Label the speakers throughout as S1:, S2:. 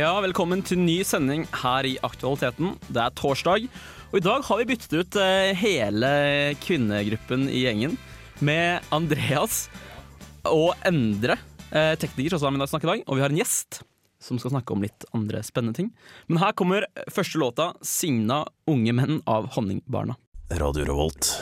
S1: Ja, velkommen til ny sending her i Aktualiteten. Det er torsdag, og i dag har vi byttet ut eh, hele kvinnegruppen i gjengen med Andreas og Endre, eh, tekniker, som er med deg å snakke i dag. Og vi har en gjest som skal snakke om litt andre spennende ting. Men her kommer første låta, 'Signa unge menn' av Honningbarna.
S2: Radio Revolt.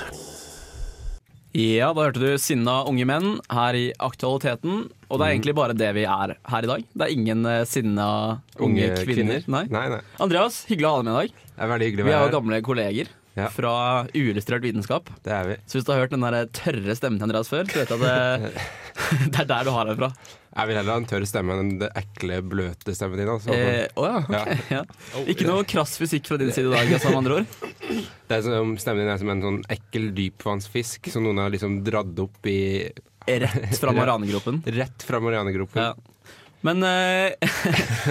S1: Ja, da hørte du 'Sinna unge menn' her i Aktualiteten. Og det er egentlig bare det vi er her i dag. Det er ingen eh, sinna unge, kvinner. Nei.
S3: Nei, nei.
S1: Andreas, hyggelig å ha deg med i dag.
S3: Det er veldig hyggelig å
S1: Vi er
S3: være
S1: jo
S3: her.
S1: gamle kolleger
S3: Ja.
S1: fra uillustrert vitenskap.
S3: Det er vi.
S1: Så hvis du har hørt den der tørre stemmen til Andreas før, så vet jeg at det, det er der du har den fra.
S3: Jeg vil heller ha en tørr stemme enn den ekle, bløte stemmen din. Altså.
S1: Å eh, å ja, ok. Ja. Ikke noe krass fysikk fra din side i dag, altså, med andre ord.
S3: Det er som, stemmen din er som en sånn ekkel dypvannsfisk som noen har liksom dratt opp i
S1: Rett fra Maranegropen.
S3: Rett fra Marianegropen.
S1: Ja. Men eh,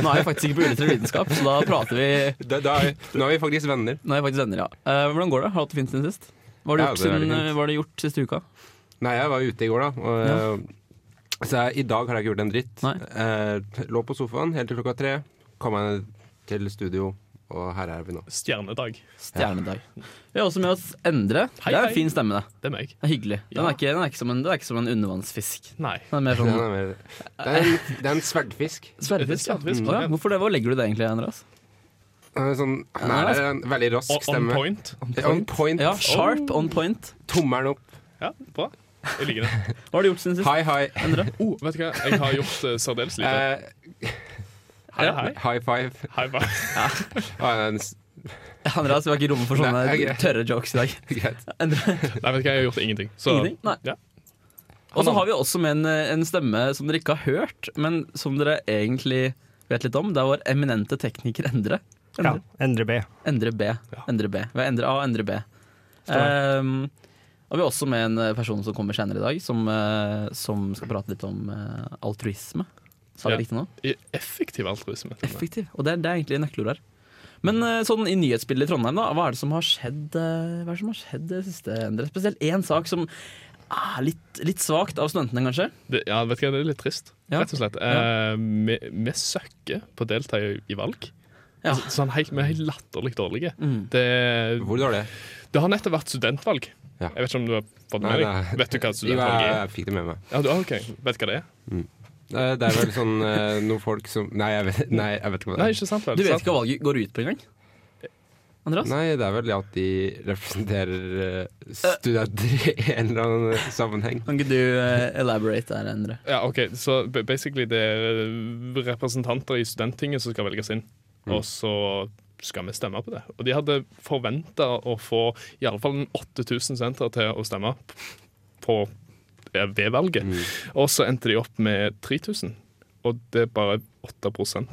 S1: nå er vi faktisk ikke på uillustrert vitenskap, så da prater vi
S3: Da, da, er- nå er vi faktisk venner.
S1: Nå er jeg faktisk venner, ja. Eh, hvordan går det? Har du hatt det fint siden sist? Hva har du
S3: Ja,
S1: gjort,
S3: det er veldig
S1: siden,
S3: fint.
S1: eh, hva har du gjort siste uka?
S3: Nei, jeg var ute i går, da. Og, eh, Så jeg, i dag har jeg ikke gjort en dritt.
S1: Nei.
S3: Eh, lå på sofaen helt til klokka tre. Kom meg til studio, og her er vi nå.
S4: Stjernedag.
S1: Stjernedag. Vi har også med oss Endre.
S4: Hei,
S1: det er
S4: hei.
S1: en fin stemme, det.
S4: Det er meg.
S1: det er hyggelig. Den,
S4: Ja.
S1: er ikke, den, er ikke som en, den er ikke som en undervannsfisk.
S4: Nei.
S1: Den er mer
S3: Den
S1: sånn
S3: er mer, det, er en, det er en sverdfisk.
S1: sverdfisk. Ja.
S4: Er det sverdfisk?
S1: Mm.
S3: sånn.
S1: Å ja. Hvorfor det? Hvor legger du det egentlig, Andreas?
S3: Den er Sånn, den er en veldig
S4: On,
S3: rask
S4: on
S3: stemme.
S4: point.
S3: On point.
S1: Ja, Sharp,
S3: Oh.
S1: on point.
S3: Tommelen opp.
S4: Ja, bra. Jeg liker det.
S1: Hva har du gjort siden sist?
S3: Hei, hei.
S1: Endre?
S4: Oh, vet du hva? Jeg har gjort uh, særdeles lite.
S3: Eh,
S4: Hei, hei.
S3: high five.
S4: Hei, hva?
S3: Ah, nei, den s-
S1: Andreas, vi har ikke rom for sånne
S3: Nei, ok.
S1: tørre jokes i dag.
S3: greit.
S1: Endre?
S4: Nei, vet du hva? Jeg har gjort ingenting. Så,
S1: Ingenting? Nei.
S4: Ja.
S1: Og så har vi også med en, eh, en stemme som dere ikke har hørt, men som dere egentlig vet litt om. Det er vår eminente tekniker Endre. Endre.
S5: Ja, Endre B.
S1: Endre B. Endre B. Vi har Endre A og Endre B. Ehm, og vi er også med en eh, person som kommer senere i dag, som, eh, som skal prate litt om eh, altruisme. Sa jeg
S4: Ja.
S1: riktig nå?
S4: I effektiv altruisme.
S1: Effektiv. Og det, er- det er egentlig nøkkelord her. Men eh, sånn i nyhetsbildet i Trondheim, da, hva er det som har skjedd eh, Hva er det som har skjedd det siste, Endre? Spesielt én sak som er litt, litt svakt av studentene, kanskje.
S4: Det, ja, vet du hva? Det er litt trist,
S1: Ja.
S4: rett og slett. Eh, vi, vi søkker på å delta i, i valg.
S1: Ja.
S4: Altså, sånn, hei, vi er helt latterlig dårlige.
S1: Mm.
S4: Det,
S3: Hvor dårlig?
S4: det har nettopp vært studentvalg.
S3: Ja.
S4: Jeg vet ikke om du har fått
S3: Nei,
S4: med
S3: nei.
S4: deg. Vet du
S3: Jo,
S4: hva
S3: jeg,
S4: studentvalg er?
S3: jeg fikk det med meg.
S4: Ja, du, ah, ok. Vet du hva det er?
S3: Eh, Det er vel sånn eh, noen folk som Nei, jeg vet, nei, jeg vet ikke hva
S4: Nei,
S3: det er.
S4: ikke sant vel?
S1: Du vet
S4: Sant?
S1: ikke hva valget går ut på engang? Andreas?
S3: Nei, det er vel at de representerer eh, studenter i en eller annen sammenheng.
S1: Kan ikke du eh, elaborate der, Endre?
S4: Ja, ok, så ba- basically det er representanter i studenttinget som skal velges inn. Og så skal vi stemme på det. Og de hadde forventa å få i alle fall 8000 studenter til å stemme p- på eh, ved valget. Og så endte de opp med 3000. Og det er bare 8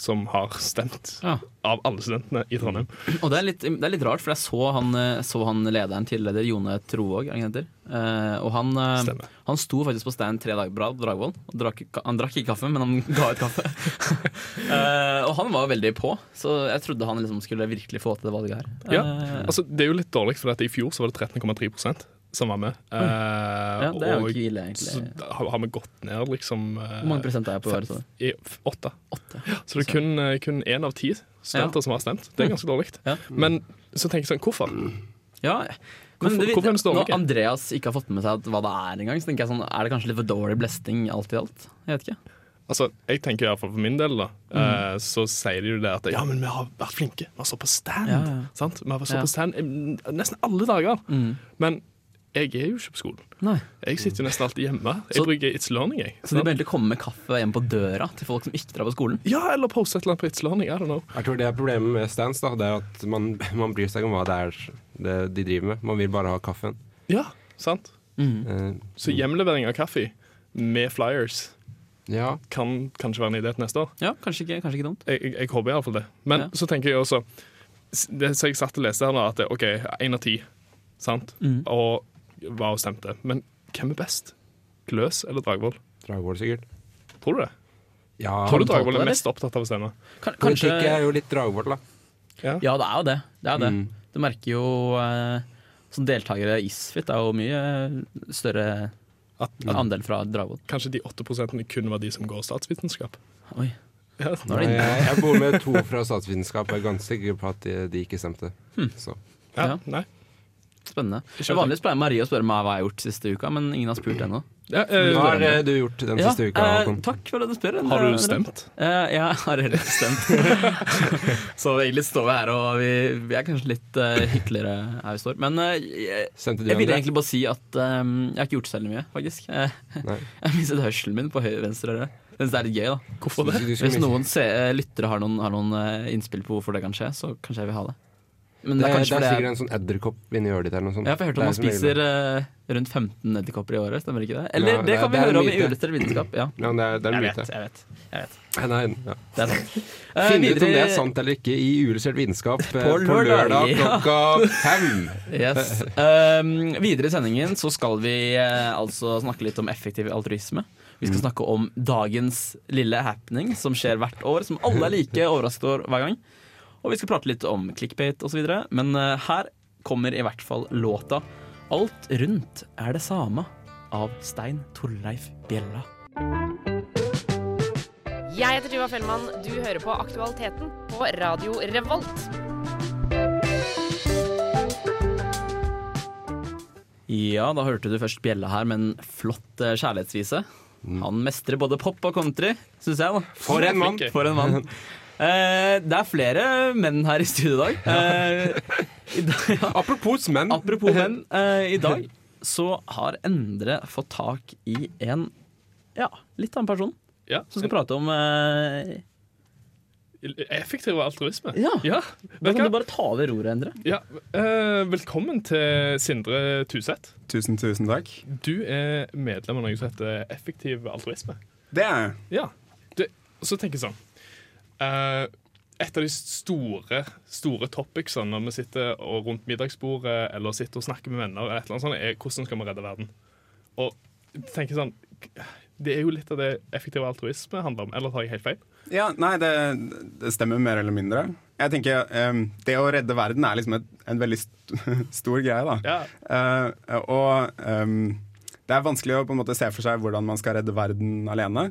S4: som har stemt.
S1: Ja.
S4: Av alle studentene i Trondheim.
S1: Og det er, litt, det er litt rart, for jeg så han, eh, så han lederen, tidligere Jone Trovåg, er det han heter? Eh, og han, eh,
S4: Stemmer.
S1: han sto faktisk på stand tre dager på rad på Dragvoll. og Drakk, ka- han drakk ikke kaffe, men han ga ut kaffe. Eh, og han var veldig på, så jeg trodde han liksom skulle virkelig få til det valget her.
S4: Ja,
S1: Eh,
S4: altså Det er jo litt dårlig, for at i fjor så var det 13,3 som var med. Eh,
S1: Mm. ja, det er jo
S4: og
S1: ikke ille,
S4: så
S1: egentlig.
S4: har, har vi gått ned liksom eh,
S1: Hvor mange prosent er jeg på hver? så?
S4: i f- åtte.
S1: Åtte.
S4: Så det er kun, eh, kun én av ti studenter
S1: Ja. Mm.
S4: som har stemt. Det er ganske dårlig.
S1: Ja.
S4: Men så tenker jeg sånn, hvorfor?
S1: Ja, men
S4: Hvorfor-
S1: det,
S4: hvorfor er de så
S1: når
S4: dårlige?
S1: Andreas ikke har fått med seg at hva det er engang, så tenker jeg sånn, er det kanskje litt for dårlig blesting alt i alt? Jeg vet ikke.
S4: Altså, jeg tenker i hvert fall for min del da,
S1: Mm.
S4: eh, så sier de jo det at ja, men vi har vært flinke. Vi har stått på stand.
S1: Ja, ja.
S4: Sant? Vi har
S1: Ja. Mm.
S4: stått på stand eh, nesten alle dager. Men jeg er jo ikke på skolen.
S1: Nei.
S4: Jeg sitter jo nesten alltid hjemme.
S1: Så-
S4: Jeg bruker It's Learning, jeg.
S1: Så de
S4: Sant?
S1: begynte å komme med kaffe hjem på døra til folk som ikke drar på skolen?
S4: Ja, eller poste et eller annet på It's Learning. I don't know.
S3: Jeg tror det er problemet med stands. da Det er at man, man bryr seg ikke om hva det er det de driver med. Man vil bare ha kaffen.
S4: Ja, sant?
S3: Eh,
S1: Mm.
S4: Så hjemlevering av kaffe med flyers
S3: Ja.
S4: kan kanskje være en idé til neste år.
S1: Ja, kanskje ikke, kanskje ikke dumt.
S4: Jeg, jeg, jeg håper iallfall det. Men
S1: Ja.
S4: så tenker jeg også s- Det som jeg satt og leste her, nå, at det, OK, én av ti, sant,
S1: Mm.
S4: og hva hun stemte. Men hvem er best? Gløs eller Dragvoll?
S3: Dragvoll, sikkert.
S4: Tror du det?
S3: Ja,
S4: Tror du
S1: talt
S4: Dragvoll
S1: på det,
S4: er mest opptatt av å stemme?
S1: Kan, kanskje
S3: Politikk er jo litt Dragvoll, da.
S1: Ja, det er jo det. det, er det.
S3: Mm.
S1: Du merker jo eh, Som deltakere i Isfit er jo mye eh, større
S4: At, at
S1: andel fra Dragvoll.
S4: kanskje de 8 kun var de som går statsvitenskap?
S1: Oi. Nå er
S3: Jeg,
S1: det
S3: jeg bor med to fra statsvitenskap og er ganske sikker på at de, de ikke stemte.
S1: Hm.
S3: Så.
S4: Ja,
S1: Ja.
S4: nei.
S1: spennende.
S4: Kjør
S1: Vanligvis pleier Marie å spørre meg hva jeg har gjort siste uka, men ingen har spurt ennå.
S4: Ja, eh,
S3: Hva har eh, du gjort den siste uka,
S1: eh,
S3: Håkon?
S1: takk for at du spør.
S4: har du
S1: Det-
S4: stemt?
S1: Eh, jeg har heller ikke stemt. så egentlig står vi her og vi, vi er kanskje litt eh, hyggeligere her vi står. Men eh, jeg,
S3: Stemte du,
S1: jeg ville
S3: André?
S1: egentlig bare si at eh, jeg har ikke gjort så veldig mye, faktisk. Eh,
S3: Nei.
S1: jeg mistet hørselen min på høyre venstre øre. Jeg synes det er litt gøy, da.
S3: Du, du, skulle
S1: Hvis
S3: miste-
S1: noen se, eh, lyttere har noen, har noen eh, innspill på hvorfor det kan skje, så kanskje jeg vil ha det. Men
S3: det,
S1: det er
S3: er, det
S1: kanskje
S3: er
S1: fordi
S3: sikkert
S1: jeg,
S3: en sånn edderkopp inni øret ditt eller noe sånt.
S1: jeg har hørt at
S3: Det er
S1: man
S3: som regel
S1: spiser eh, rundt 15 edderkopper i året, stemmer ikke det? Eller
S3: Ja,
S1: det
S3: det er-
S1: kan vi
S3: det er en
S1: høre om i
S3: myte.
S1: uretter vitenskap. Ja,
S3: Ja, men det er, det er
S1: jeg
S3: en
S1: vet,
S3: myte.
S1: jeg vet. Jeg vet.
S3: Nei, nei, ja.
S1: Det er sant. Eh,
S3: Finn ut om det
S1: videre-
S3: er sant eller ikke i Uillustrert vitenskap eh,
S1: På
S3: på
S1: lørdag,
S3: lørdag
S1: ja.
S3: klokka fem.
S1: Yes. Ehm, videre i sendingen så skal vi eh, altså snakke litt om effektiv altruisme. Vi
S3: Mm.
S1: skal snakke om dagens lille happening som skjer hvert år, som alle er like overrasket over hver gang. Og vi skal prate litt om clickbait osv. Men eh, her kommer i hvert fall låta 'Alt rundt er det samme' av Stein Torleif Bjella.
S2: Jeg heter Tuva Fellmann. Du hører på Aktualiteten på Radio Revolt.
S1: Ja, da hørte du først Bjella her med en flott eh, kjærlighetsvise.
S4: Mm.
S1: Han mestrer både pop og country, syns jeg. da
S3: For en mann!
S1: For en mann. Eh, det er flere menn her i studio i dag. Eh, i dag ja.
S3: Apropos menn.
S1: Apropos menn, eh, i dag så har Endre fått tak i en ja, litt annen person
S4: Ja.
S1: som skal prate om eh,
S4: Effektiv altruisme.
S1: Ja. Da
S4: Vet
S1: kan du
S4: du hva?
S1: bare ta over roret, Endre.
S4: Ja. eh, velkommen til Sindre Tuseth.
S5: Tusen, tusen takk.
S4: Du er medlem av noe som heter Effektiv altruisme.
S5: Det er jeg.
S4: Ja. Det, så tenker jeg sånn eh, Et av de store store topicsene når vi sitter og rundt middagsbordet eller sitter og snakker med venner, eller et eller annet sånt, er hvordan skal vi redde verden. Og jeg tenker sånn Det er jo litt av det effektiv altruisme handler om. Eller tar jeg helt feil?
S5: Ja, nei, det, det stemmer mer eller mindre. Jeg tenker em, Det å redde verden er liksom et, en veldig st stor greie, da.
S4: Ja.
S5: Eh, og em, det er vanskelig å på en måte se for seg hvordan man skal redde verden alene.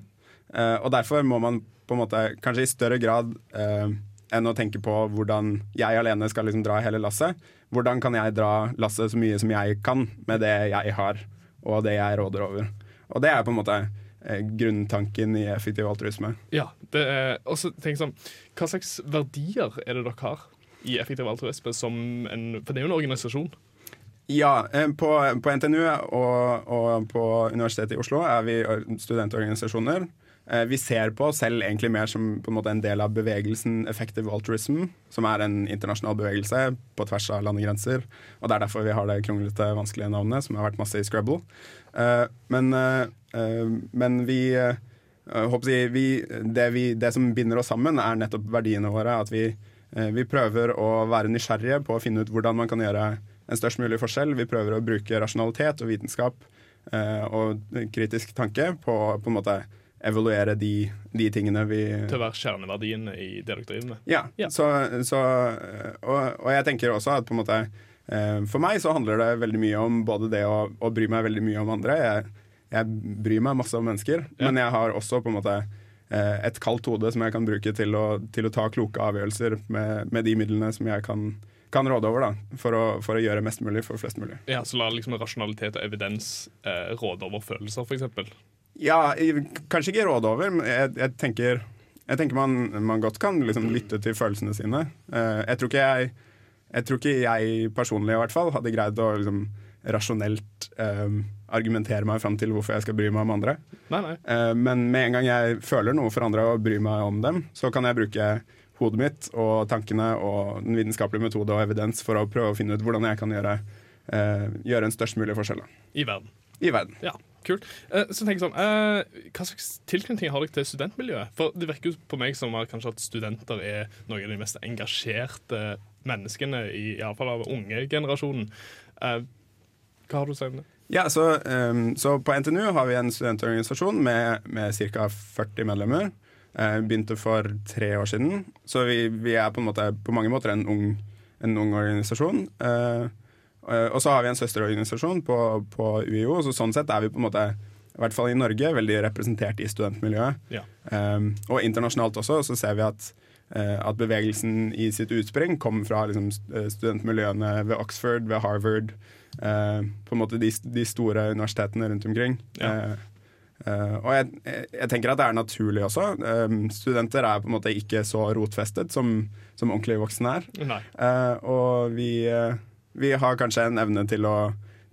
S5: Eh, og derfor må man på en måte kanskje i større grad eh, enn å tenke på hvordan jeg alene skal liksom dra hele lasset. Hvordan kan jeg dra lasset så mye som jeg kan med det jeg har, og det jeg råder over. Og det er på en måte eh, grunntanken i effektiv altruisme.
S4: Ja, det er, og så tenker jeg sånn Hva slags verdier er det dere har i Effektiv altruisme som en For det er jo en organisasjon.
S5: Ja, eh, på, på NTNU og, og på Universitetet i Oslo er vi or- studentorganisasjoner. Eh, Vi ser på oss selv egentlig mer som på en, måte en del av bevegelsen Effective Altruism, som er en internasjonal bevegelse på tvers av landegrenser. Og det er derfor vi har det kronglete, vanskelige navnet, som har vært masse i Scrabble. Eh, Men, eh, eh, men vi eh, jeg håper jeg, vi, det, vi, det som binder oss sammen, er nettopp verdiene våre. At vi, eh, vi prøver å være nysgjerrige på å finne ut hvordan man kan gjøre en størst mulig forskjell. Vi prøver å bruke rasjonalitet og vitenskap eh, og kritisk tanke på å på en måte evaluere de, de tingene vi
S4: Til å være kjerneverdien i det dere driver med.
S5: ja,
S4: Ja.
S5: Så, så, og, og jeg tenker også at på en måte eh, For meg så handler det veldig mye om både det å, å bry meg veldig mye om andre. Jeg, jeg bryr meg masse om mennesker, men jeg har også på en måte eh, et kaldt hode som jeg kan bruke til å, til å ta kloke avgjørelser med, med de midlene som jeg kan, kan råde over, da, for å, for å gjøre mest mulig for flest mulig.
S4: Ja, Så la liksom rasjonalitet og evidens eh, råde over følelser, f.eks.
S5: Ja, jeg- kanskje ikke råde over, men jeg, jeg tenker, jeg tenker man, man godt kan liksom lytte til følelsene sine. Eh, Jeg tror ikke jeg, jeg, tror ikke jeg personlig i hvert fall hadde greid å liksom rasjonelt eh, argumentere meg fram til hvorfor jeg skal bry meg om andre.
S4: Nei, nei.
S5: Eh, Men med en gang jeg føler noe for andre og bryr meg om dem, så kan jeg bruke hodet mitt og tankene og den vitenskapelige metode og evidens for å prøve å finne ut hvordan jeg kan gjøre, eh, gjøre en størst mulig forskjell da,
S4: I verden.
S5: i verden.
S4: Ja, kult. Eh, så tenker jeg sånn eh, Hva slags tilknytning har dere til studentmiljøet? For det virker jo på meg som at kanskje at studenter er noen av de mest engasjerte menneskene, i i alle fall av ungegenerasjonen. Eh, hva har du å si om det?
S5: Ja, så, ehm, så på NTNU har vi en studentorganisasjon med, med ca. 40 medlemmer. Eh, begynte for tre år siden, så vi, vi er på, en måte, på mange måter en ung, en ung organisasjon. Eh, eh, og så har vi en søsterorganisasjon på, på UiO, så sånn sett er vi på en måte i hvert fall i Norge, veldig representert i studentmiljøet.
S4: Ja.
S5: Um, og internasjonalt også, så ser vi at, eh, at bevegelsen i sitt utspring kom fra liksom, st- eh, studentmiljøene ved Oxford, ved Harvard, eh, på en måte de, st- de store universitetene rundt omkring.
S4: Ja.
S5: Eh, eh, og jeg, jeg, jeg tenker at det er naturlig også. Um, studenter er på en måte ikke så rotfestet som, som ordentlige voksne er.
S4: Nei.
S5: Eh, og vi, eh, vi har kanskje en evne til å,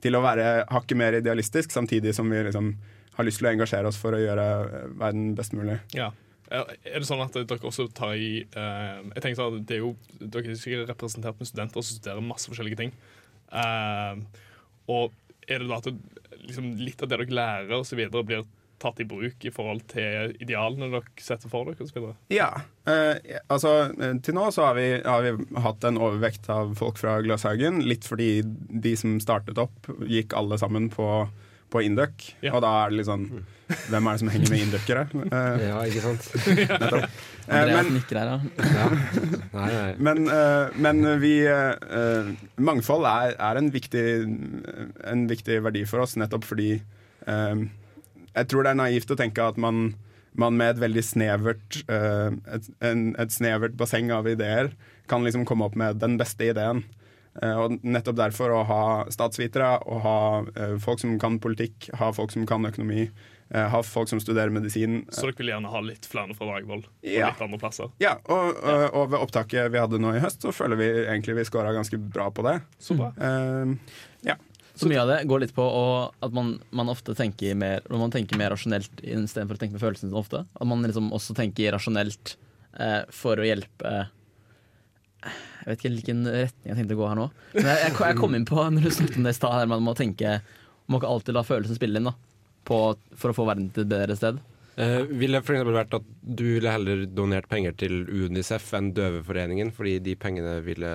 S5: til å være hakket mer idealistisk, samtidig som vi liksom har lyst til å engasjere oss for å gjøre eh, verden best mulig.
S4: Ja. Er er det sånn at dere også tar i eh, Jeg tenker sånn at det er jo, Dere er sikkert representert med studenter som studerer masse forskjellige ting. Eh, og er det da at det- liksom, litt av det dere lærer, og så videre blir tatt i bruk i forhold til idealene dere setter for dere? Og så videre?
S5: Ja. eh, altså, eh, til nå så har vi, har vi hatt en overvekt av folk fra Gløshaugen. Litt fordi de som startet opp, gikk alle sammen på, på Induc.
S4: Ja.
S5: Og da er det litt sånn Hvem er det som henger med Inducere? Eh,
S3: Ja, ikke sant?
S5: eh,
S1: Andreas
S5: men-
S1: nikker her, ja.
S3: Ja. Nei, nei.
S5: Men, eh, men vi eh, eh, Mangfold er, er en, viktig, en viktig verdi for oss, nettopp fordi eh, Jeg tror det er naivt å tenke at man, man med et veldig snevert eh, et, en, et snevert basseng av ideer kan liksom komme opp med den beste ideen. Eh, og nettopp derfor å ha statsvitere, å ha eh, folk som kan politikk, ha folk som kan økonomi, eh, ha folk som studerer medisin
S4: Så dere vil gjerne ha litt flere fra Dragvoll og
S5: Ja. Mm.
S4: litt andre plasser?
S5: Ja, og, og- og ved opptaket vi hadde nå i høst, så føler vi egentlig vi scora ganske bra på det.
S4: Så bra.
S5: Ehm, ja.
S1: Så mye av det går litt på å, at man, man ofte tenker mer Når man tenker mer rasjonelt istedenfor å tenke med følelsene sine ofte. At man liksom også tenker rasjonelt eh, for å hjelpe Jeg vet ikke hvilken retning jeg tenkte å gå her nå. Men jeg, jeg, ko- jeg kom inn på når du snakket om det i stad, her, man må tenke Man må ikke alltid la følelsen spille inn da på, for å få verden til et bedre sted.
S3: Eh, ville for eksempel vært at du ville heller donert penger til Unicef enn Døveforeningen, fordi de pengene ville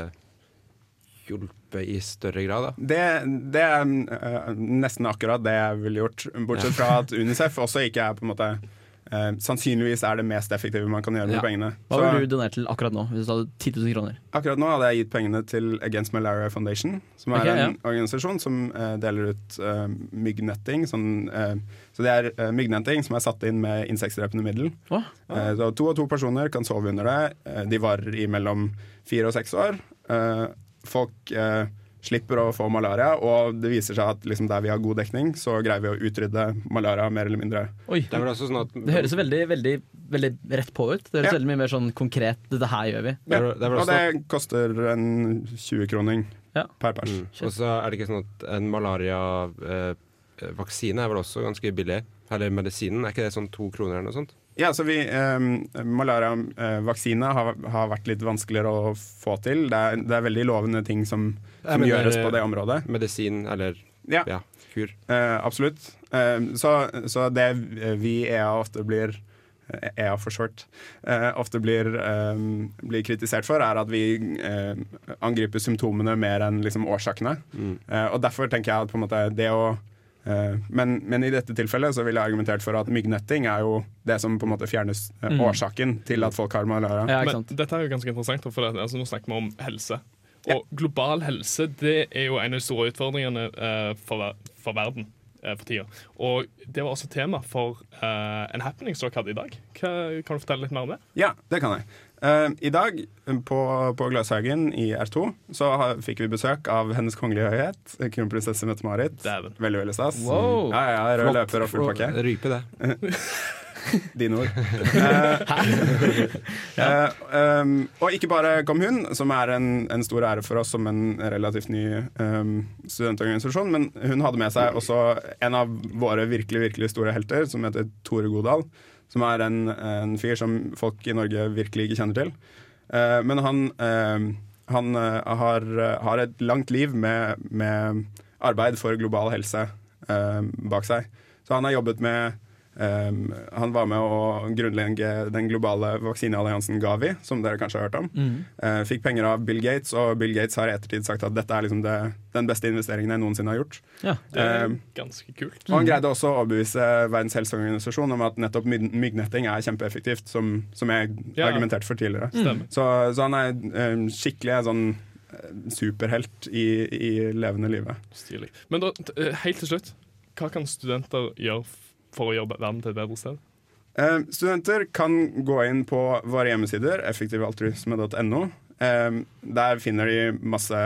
S3: hjulpet i større grad, da?
S5: Det, det er eh, nesten akkurat det jeg ville gjort, bortsett fra at Unicef også ikke er på en måte eh, Sannsynligvis er det mest effektive man kan gjøre med
S3: Ja.
S5: pengene.
S1: Hva
S5: Så
S1: ville du donert til akkurat nå, hvis du hadde 10 000 kroner?
S5: akkurat nå hadde jeg gitt pengene til Against Malaria Foundation, som er
S1: Ok, ja.
S5: en organisasjon som eh, deler ut eh, myggnetting. Sånn, eh, så det er eh, myggnetting som er satt inn med insektdrepende middel.
S1: Hva?
S5: Eh, Så to og to personer kan sove under det. Eh, De varer i mellom fire og seks år. Eh, Folk eh, slipper å få malaria, og det viser seg at liksom der vi har god dekning, så greier vi å utrydde malaria mer eller mindre.
S1: Oi.
S3: Det er vel også sånn at
S1: Det høres veldig, veldig, veldig rett på ut. Det høres
S5: Ja.
S1: veldig mye mer sånn konkret 'dette her gjør vi'.
S3: Det er vel- sånn det er vel
S5: og det koster en 20-kroning
S1: Ja.
S5: per pers.
S3: Mm. Og så er det ikke sånn at en malariavaksine er vel også ganske billig? Eller medisinen, er ikke det sånn to kroner eller noe sånt?
S5: Ja, så vi, eh, Malariavaksine har, har vært litt vanskeligere å få til. Det er, det er veldig lovende ting som,
S3: Jeg
S5: som
S3: mener-
S5: gjøres på det området.
S3: eh, Medisin eller
S5: Ja.
S3: ja, kur.
S5: Eh, absolutt. Eh, så, så det vi i EA ofte blir eh, EA for short. eh, ofte blir, eh, blir kritisert for, er at vi eh, angriper symptomene mer enn liksom, årsakene.
S3: Mm.
S5: Eh, og derfor tenker jeg at på en måte det å eh, men, men i dette tilfellet så ville jeg argumentert for at myggnetting er jo det som på en måte fjernes eh,
S1: Mm.
S5: årsaken til at folk har malaria.
S1: Ja, ikke
S4: Men
S1: sant?
S4: dette er jo ganske interessant, for det, altså, nå snakker vi om helse.
S5: Ja.
S4: Og global helse det er jo en av de store utfordringene eh, for, ver- for verden eh, for tida. Og det var også tema for eh, en happening som dere hadde i dag. Hva, kan du fortelle litt mer om det?
S5: Ja, det kan jeg. Eh, I dag på, på Gløshaugen i R2 så har, fikk vi besøk av Hennes kongelige høyhet, kronprinsesse Mette-Marit.
S4: Dæven.
S5: Veldig, veldig stas.
S1: Wow.
S5: Ja, ja, ja, Rød løper og full pakke.
S3: Rype, det.
S5: Dine ord. Eh, eh, um, og ikke bare kom hun, som er en, en stor ære for oss som en relativt ny um, studentorganisasjon, men hun hadde med seg også en av våre virkelig, virkelig store helter, som heter Tore Godal. Som er en, en fyr som folk i Norge virkelig ikke kjenner til. Eh, men han, eh, han eh, har, har et langt liv med, med arbeid for global helse eh, bak seg. Så han har jobbet med eh, Han var med å grunnlegge den globale vaksinealliansen Gavi, som dere kanskje har hørt om.
S1: Mm.
S5: Eh, fikk penger av Bill Gates, og Bill Gates har i ettertid sagt at dette er liksom det, den beste investeringen jeg noensinne har gjort.
S1: Ja.
S4: Det er
S5: Eh,
S4: ganske kult.
S5: Og han greide også å overbevise Verdens helseorganisasjon om at nettopp myg- myggnetting er kjempeeffektivt, som, som jeg
S4: Ja.
S5: argumenterte for tidligere.
S1: mm.
S4: Stemmer.
S5: Så, så han er eh, skikkelig en sånn eh, superhelt i, i levende livet.
S4: Stilig. Men da, t- eh, helt til slutt, hva kan studenter gjøre f- for å gjøre verden til et bedre sted?
S5: Eh, studenter kan gå inn på våre hjemmesider, effektivaltruisme.no. Eh, der finner de masse,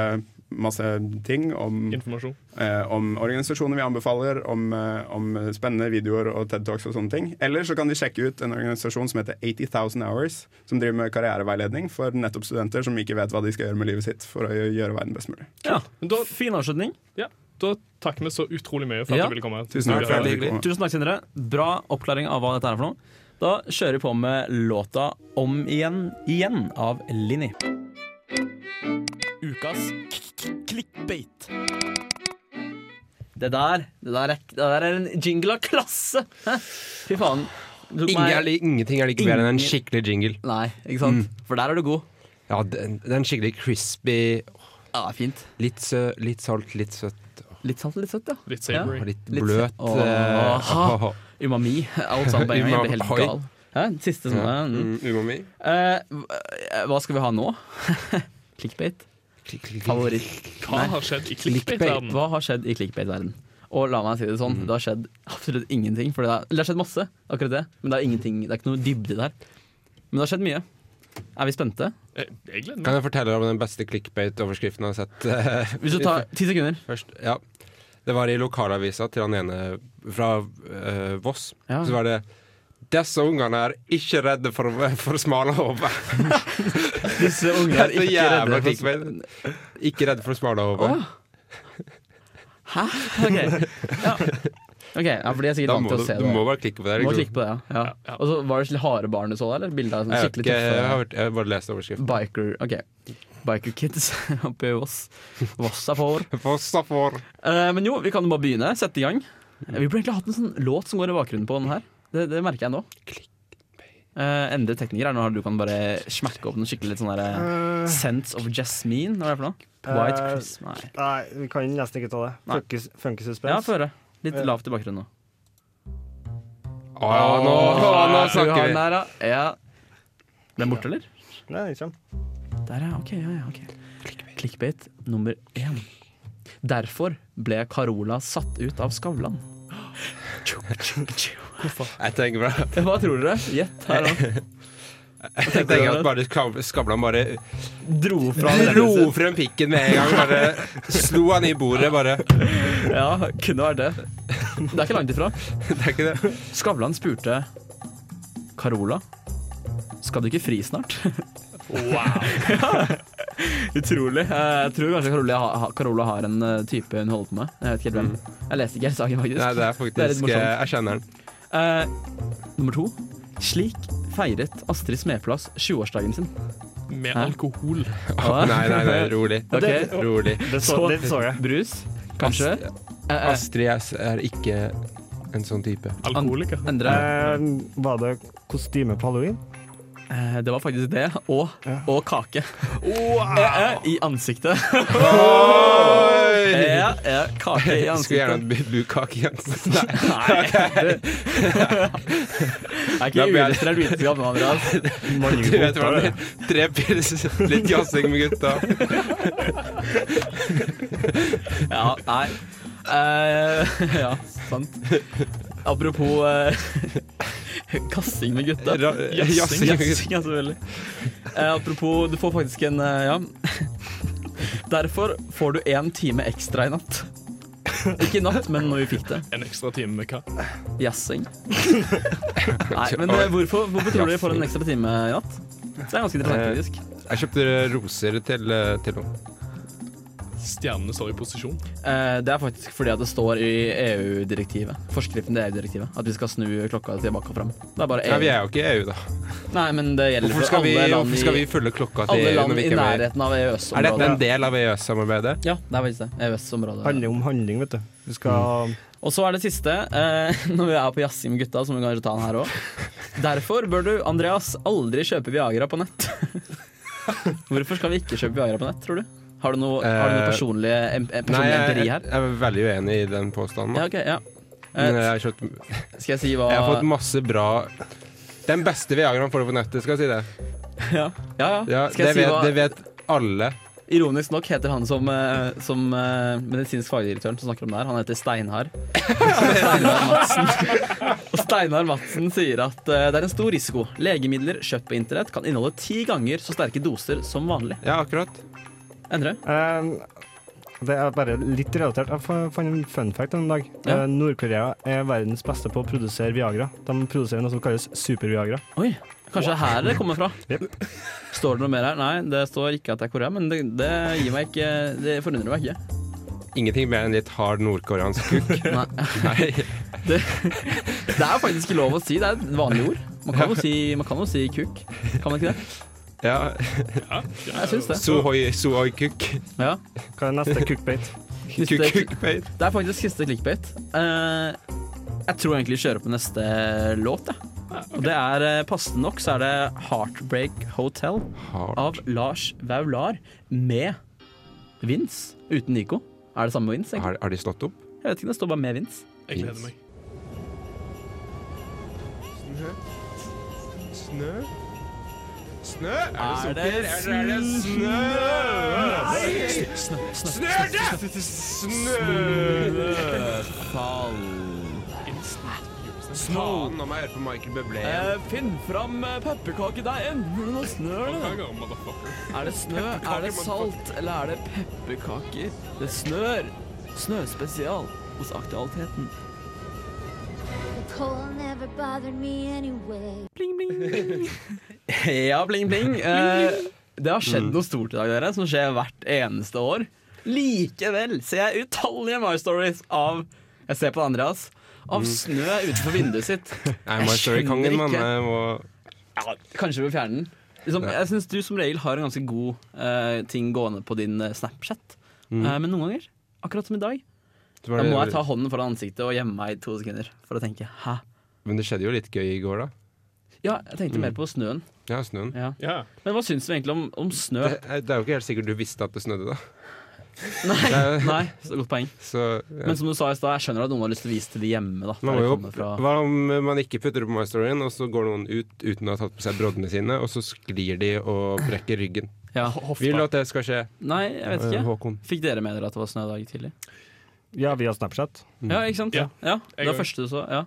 S5: masse ting om,
S4: Informasjon.
S5: eh, om organisasjoner vi anbefaler, om, eh, om spennende videoer og TED Talks og sånne ting. Eller så kan de sjekke ut en organisasjon som heter 80,000 Hours, som driver med karriereveiledning for nettopp studenter som ikke vet hva de skal gjøre med livet sitt for å gjøre verden best mulig.
S1: Ja,
S4: Men da-
S1: Fin avslutning.
S4: Ja, da takker vi så utrolig mye for
S1: Ja.
S4: at du ville komme.
S5: Tusen takk for at
S4: Ja,
S5: jeg fikk komme.
S1: Tusen takk, Sindre. Bra oppklaring av hva dette er for noe. Da kjører vi på med låta Om igjen igjen av Linni. Ukas clickbait. Det der, det der, er, det der er en jingle av klasse! Hæ? Fy faen. Du tok
S3: Ingen
S1: meg-
S3: er li- ingenting er like bedre enn en
S1: Ingen-
S3: skikkelig jingle.
S1: Nei, ikke sant? For der er du god.
S3: Ja, den, den skikkelig crispy,
S1: Ja, fint.
S3: litt, sø, litt salt, litt søtt,
S1: Litt salt, litt søtt, ja.
S4: Litt savory.
S3: og litt
S1: Litt
S3: bløt.
S1: sø-
S3: eh,
S1: Åh. Umami. Alt sammen på en gang. Jeg blir helt
S3: Umami.
S1: gal. Hæ? Siste sånn.
S3: Ja.
S1: Mm.
S3: Mm, umami.
S1: Eh, hva- hva skal vi ha nå? Clickbait?
S3: Klikk, klikk, klikk.
S1: Favoritt?
S4: Hva
S1: Nei.
S4: har skjedd i
S1: Clickbait.
S4: clickbait-verdenen?
S1: Hva har skjedd i clickbait-verden? Og la meg si det
S3: Mhm.
S1: sånn, det har skjedd absolutt ingenting. For det, har, eller det har skjedd masse, akkurat det. Men det er ingenting, det er ikke noe dybde der. Men det har skjedd mye. Er vi spente?
S4: Jeg Eh, jeg gleder meg.
S3: Kan jeg fortelle om den beste clickbait-overskriften jeg har sett? eh,
S1: Hvis du tar ti sekunder.
S3: Først, ja. Det var i lokalavisa til han ene fra eh, Voss.
S1: Ja.
S3: Så var det 'Disse ungene er ikke redde for, for smale hoder'.
S1: Disse unge
S3: Det er så jævla clickbait. Ikke redde for smale hoder.
S1: Hæ? OK. Ja. Ok, ja, for de er sikkert
S3: Da
S1: vant
S3: må
S1: til
S3: du,
S1: å se
S3: du
S1: det.
S3: må bare klikke på det.
S1: Du må
S3: Liksom.
S1: klikke på det, ja.
S4: Ja,
S1: ja.
S4: ja.
S1: Og så Var det harde barn du så der, eller? Bilder av sånn
S3: Jeg, vet
S1: skikkelig
S3: ikke, jeg,
S1: tøffe
S3: har, hørt- jeg har bare lest overskriften.
S1: Biker Ok, biker kids oppe i Voss. Voss er for.
S3: Voss er for
S1: Eh, men jo, vi kan jo bare begynne. Sette i gang. Eh, Vi burde egentlig hatt en sånn låt som går i bakgrunnen på den her. Det, det merker jeg nå. Uh, endre tekniker er nå her du kan bare smekke opp noe skikkelig litt sånn der eh, Sense of Jasmine, hva er det for noe? White
S6: Eh,
S1: Chris, nei.
S6: Nei, vi kan nesten ikke ta det.
S1: Nei.
S6: Funky- Funky
S1: Ja,
S6: suspense.
S1: få høre. Litt lavt i bakgrunnen nå.
S3: Å, nå, å, nå
S1: Ah, Du har
S3: snakker
S1: den
S3: vi!
S1: her, ja. ja. Ble den borte, eller?
S6: Nei, det kommer.
S1: Der, ja. Ok. Ja, ja, ok. Clickbait nummer én. Derfor ble Carola satt ut av Skavlan.
S3: Jeg tenker bare
S1: Hva tror dere? Gjett her nå.
S3: Jeg tenker at bare Skav- Skavlan bare
S1: Dro fra
S3: dro frem pikken med en gang. Bare slo han i bordet, bare.
S1: Ja, kunne vært det. Det er ikke langt ifra.
S3: Det er ikke det.
S1: Skavlan spurte Carola skal du ikke fri snart?
S4: Wow.
S1: Utrolig. Eh, Jeg tror kanskje Carola, ha- ha- Carola har en eh, type hun holder på med. Jeg vet ikke helt hvem. Jeg leste ikke hele saken, faktisk.
S3: Mm. Nei, det er faktisk
S1: morsomt.
S3: eh, Jeg kjenner den.
S1: Eh, nummer to. Slik feiret Astrid Smeplass 20-årsdagen sin.
S4: Med
S1: Hæ?
S4: alkohol.
S1: Ah,
S3: Nei, nei, nei, rolig.
S1: Ok.
S3: Rolig.
S6: Det så,
S1: Så-
S6: det så jeg.
S1: Brus, kanskje? Eh, eh,
S3: Astrid S er ikke en sånn type.
S4: Alkoholiker.
S1: Endre.
S6: Eh, var det kostyme på halloween?
S1: Eh, det var faktisk det. Og, og kake. Eh, eh, I ansiktet.
S3: Oi!
S1: Eh, eh, kake i
S3: Skulle
S1: ansiktet.
S3: gjerne hatt bu- bukake igjen. Nei,
S1: Nei, det er
S3: Da
S1: ikke
S3: blir jeg-
S1: uillustrert vitenskap nå, Andreas.
S3: du vet hva det er. Tre pils, litt jazzing med gutta.
S1: Ja, nei. Eh, ja, sant. Apropos eh, kassing med gutta.
S3: Ra- jassing med
S1: Jassing, ja, selvfølgelig. Eh, apropos, du får faktisk en eh, Ja. Derfor får du én time ekstra i natt. Ikke i natt, men når vi fikk det.
S4: En ekstra time med hva?
S1: Jassing. Nei, men eh, hvorfor, hvorfor tror du vi får en ekstra time i natt? Det er ganske
S3: Eh.
S1: interessant, faktisk.
S3: Jeg kjøpte roser til, eh, til noen.
S4: Stjernene står i posisjon.
S1: Eh, Det er faktisk fordi at det står i EU-direktivet, forskriften til EU-direktivet, at vi skal snu klokka tilbake og fram. Det er bare EU.
S3: Ja, vi er jo ikke i EU, da.
S1: Nei, men det gjelder Eh.
S3: Hvorfor
S1: for
S3: skal vi,
S1: alle land
S3: hvorfor skal vi
S1: i,
S3: følge klokka til
S1: alle
S3: EU når
S1: land
S3: vi
S1: i
S3: ikke er med?
S1: nærheten av
S3: Er dette
S1: EØS-området.
S3: en del av EØS-samarbeidet?
S1: Ja, det E er faktisk det. EØS-området.
S6: Handler om handling, vet du. Du skal
S1: Og så er det siste, eh, når vi er på jazzing med gutta, så må vi kanskje ta den her òg. Derfor bør du, Andreas, aldri kjøpe Viagra på nett. Hvorfor skal vi ikke kjøpe Viagra på nett, tror du? Har du noe, har du noe
S3: Eh,
S1: personlig, em, eh,
S3: Nei,
S1: personlig
S3: jeg,
S1: empiri
S3: jeg,
S1: her?
S3: jeg er veldig uenig i den påstanden.
S1: Ja,
S3: da.
S1: ok, ja.
S3: Men jeg
S1: Eh,
S3: har, kjøpt,
S1: skal jeg si hva
S3: jeg har fått masse bra Den beste Viagraen får du på nettet, skal jeg si det.
S1: Ja, ja. ja.
S3: Ja,
S1: Skal jeg
S3: det,
S1: si
S3: vet,
S1: hva
S3: det vet alle.
S1: Ironisk nok heter han som, eh, som eh, medisinsk fagdirektøren som snakker om det her, han heter Steinar. Steinar Madsen. Og Steinar Madsen sier at eh, det er en stor risiko. Legemidler kjøpt på internett kan inneholde ti ganger så sterke doser som vanlig.
S3: Ja, akkurat.
S1: Endre?
S6: Eh, det er bare litt relatert. Jeg fa- fant en fun fact en dag.
S1: Ja.
S6: Eh, Nord-Korea er verdens beste på å produsere Viagra. De produserer noe som kalles Super-Viagra.
S1: Oi, kanskje det er her det kommer fra?
S6: Jep.
S1: Står det noe mer her? Nei, det står ikke at det er Korea, men det, det, gir meg ikke, det forundrer meg ikke.
S3: Ingenting mer enn litt hard nordkoreansk kukk.
S1: Nei.
S3: Nei.
S1: Det er faktisk ikke lov å si, det er et vanlig ord. Man kan jo si, man kan jo si kuk, kan man ikke det?
S3: Ja.
S1: Jeg syns det.
S3: Sohoi, sohoi kukk.
S1: Ja.
S6: Hva er neste cookbate?
S1: Siste, det er faktisk siste clickbait. Eh, jeg tror egentlig vi kjører på neste låt, jeg. Og det er eh, passende nok så er det 'Heartbreak Hotel' av Lars Vaular med Vince uten Nico. Er det samme med Vince? egentlig?
S3: Har, har de slått opp?
S1: Jeg vet ikke, det står bare med Vince.
S4: Jeg gleder meg.
S3: Snø? Snø?
S1: Er det sukker? Er det- er det
S3: snø? Snø! Snø!
S1: Fall.
S3: Faen, nå må jeg høre på Michael Bublé igjen.
S1: Eh, finn fram pepperkakedeigen! Hvordan snør det? Er det snø, er det salt, eller er det pepperkaker? Det snør! Snøspesial hos Aktualiteten.
S7: The cold never bothered me anyway.
S1: Ja, bling, bling. Eh, det har
S3: Mm.
S1: skjedd noe stort i dag, dere, som skjer hvert eneste år. Likevel ser jeg utallige My Stories av Jeg ser på Andreas. Av
S3: Mm.
S1: snø utenfor vinduet sitt.
S3: Nei, My
S1: Jeg
S3: Story-kongen,
S1: skjønner
S3: mann.
S1: ikke.
S3: Jeg må
S1: Ja, kanskje vi fjerner den. Liksom,
S3: Ja.
S1: jeg syns du som regel har en ganske god eh, ting gående på din eh, Snapchat.
S3: Mm.
S1: Eh, men noen ganger, akkurat som i dag,
S3: Det var
S1: da
S3: det-
S1: må jeg ta hånden foran ansiktet og gjemme meg i to sekunder for å tenke hæ?
S3: Men det skjedde jo litt gøy i går, da.
S1: Ja, jeg
S3: Mm.
S1: tenkte mer på snøen.
S3: Ja, snøen.
S1: Ja.
S4: Ja.
S1: Men hva syns du egentlig om, om snø?
S3: Det, er- det er jo ikke helt sikkert du visste at det snødde, da.
S1: Nei, nei, så godt poeng.
S3: Så ja.
S1: Men som du sa i stad, jeg skjønner at noen har lyst til å vise til de hjemme. da der
S3: man må
S1: de
S3: jo,
S1: kommer fra.
S3: hva om man ikke putter opp My Storyen, og så går noen ut uten å ha tatt på seg broddene sine, og så sklir de og brekker ryggen?
S1: ja.
S3: Vil du at det skal skje,
S1: Nei, jeg vet
S3: eh,
S1: ikke.
S3: Håkon?
S1: Fikk dere med dere at det var snø i dag tidlig?
S6: Ja, via Snapchat.
S3: Mm.
S1: Ja, ikke sant? Ja,
S4: Ja.
S1: Det var
S4: gang.
S1: første du så. Ja.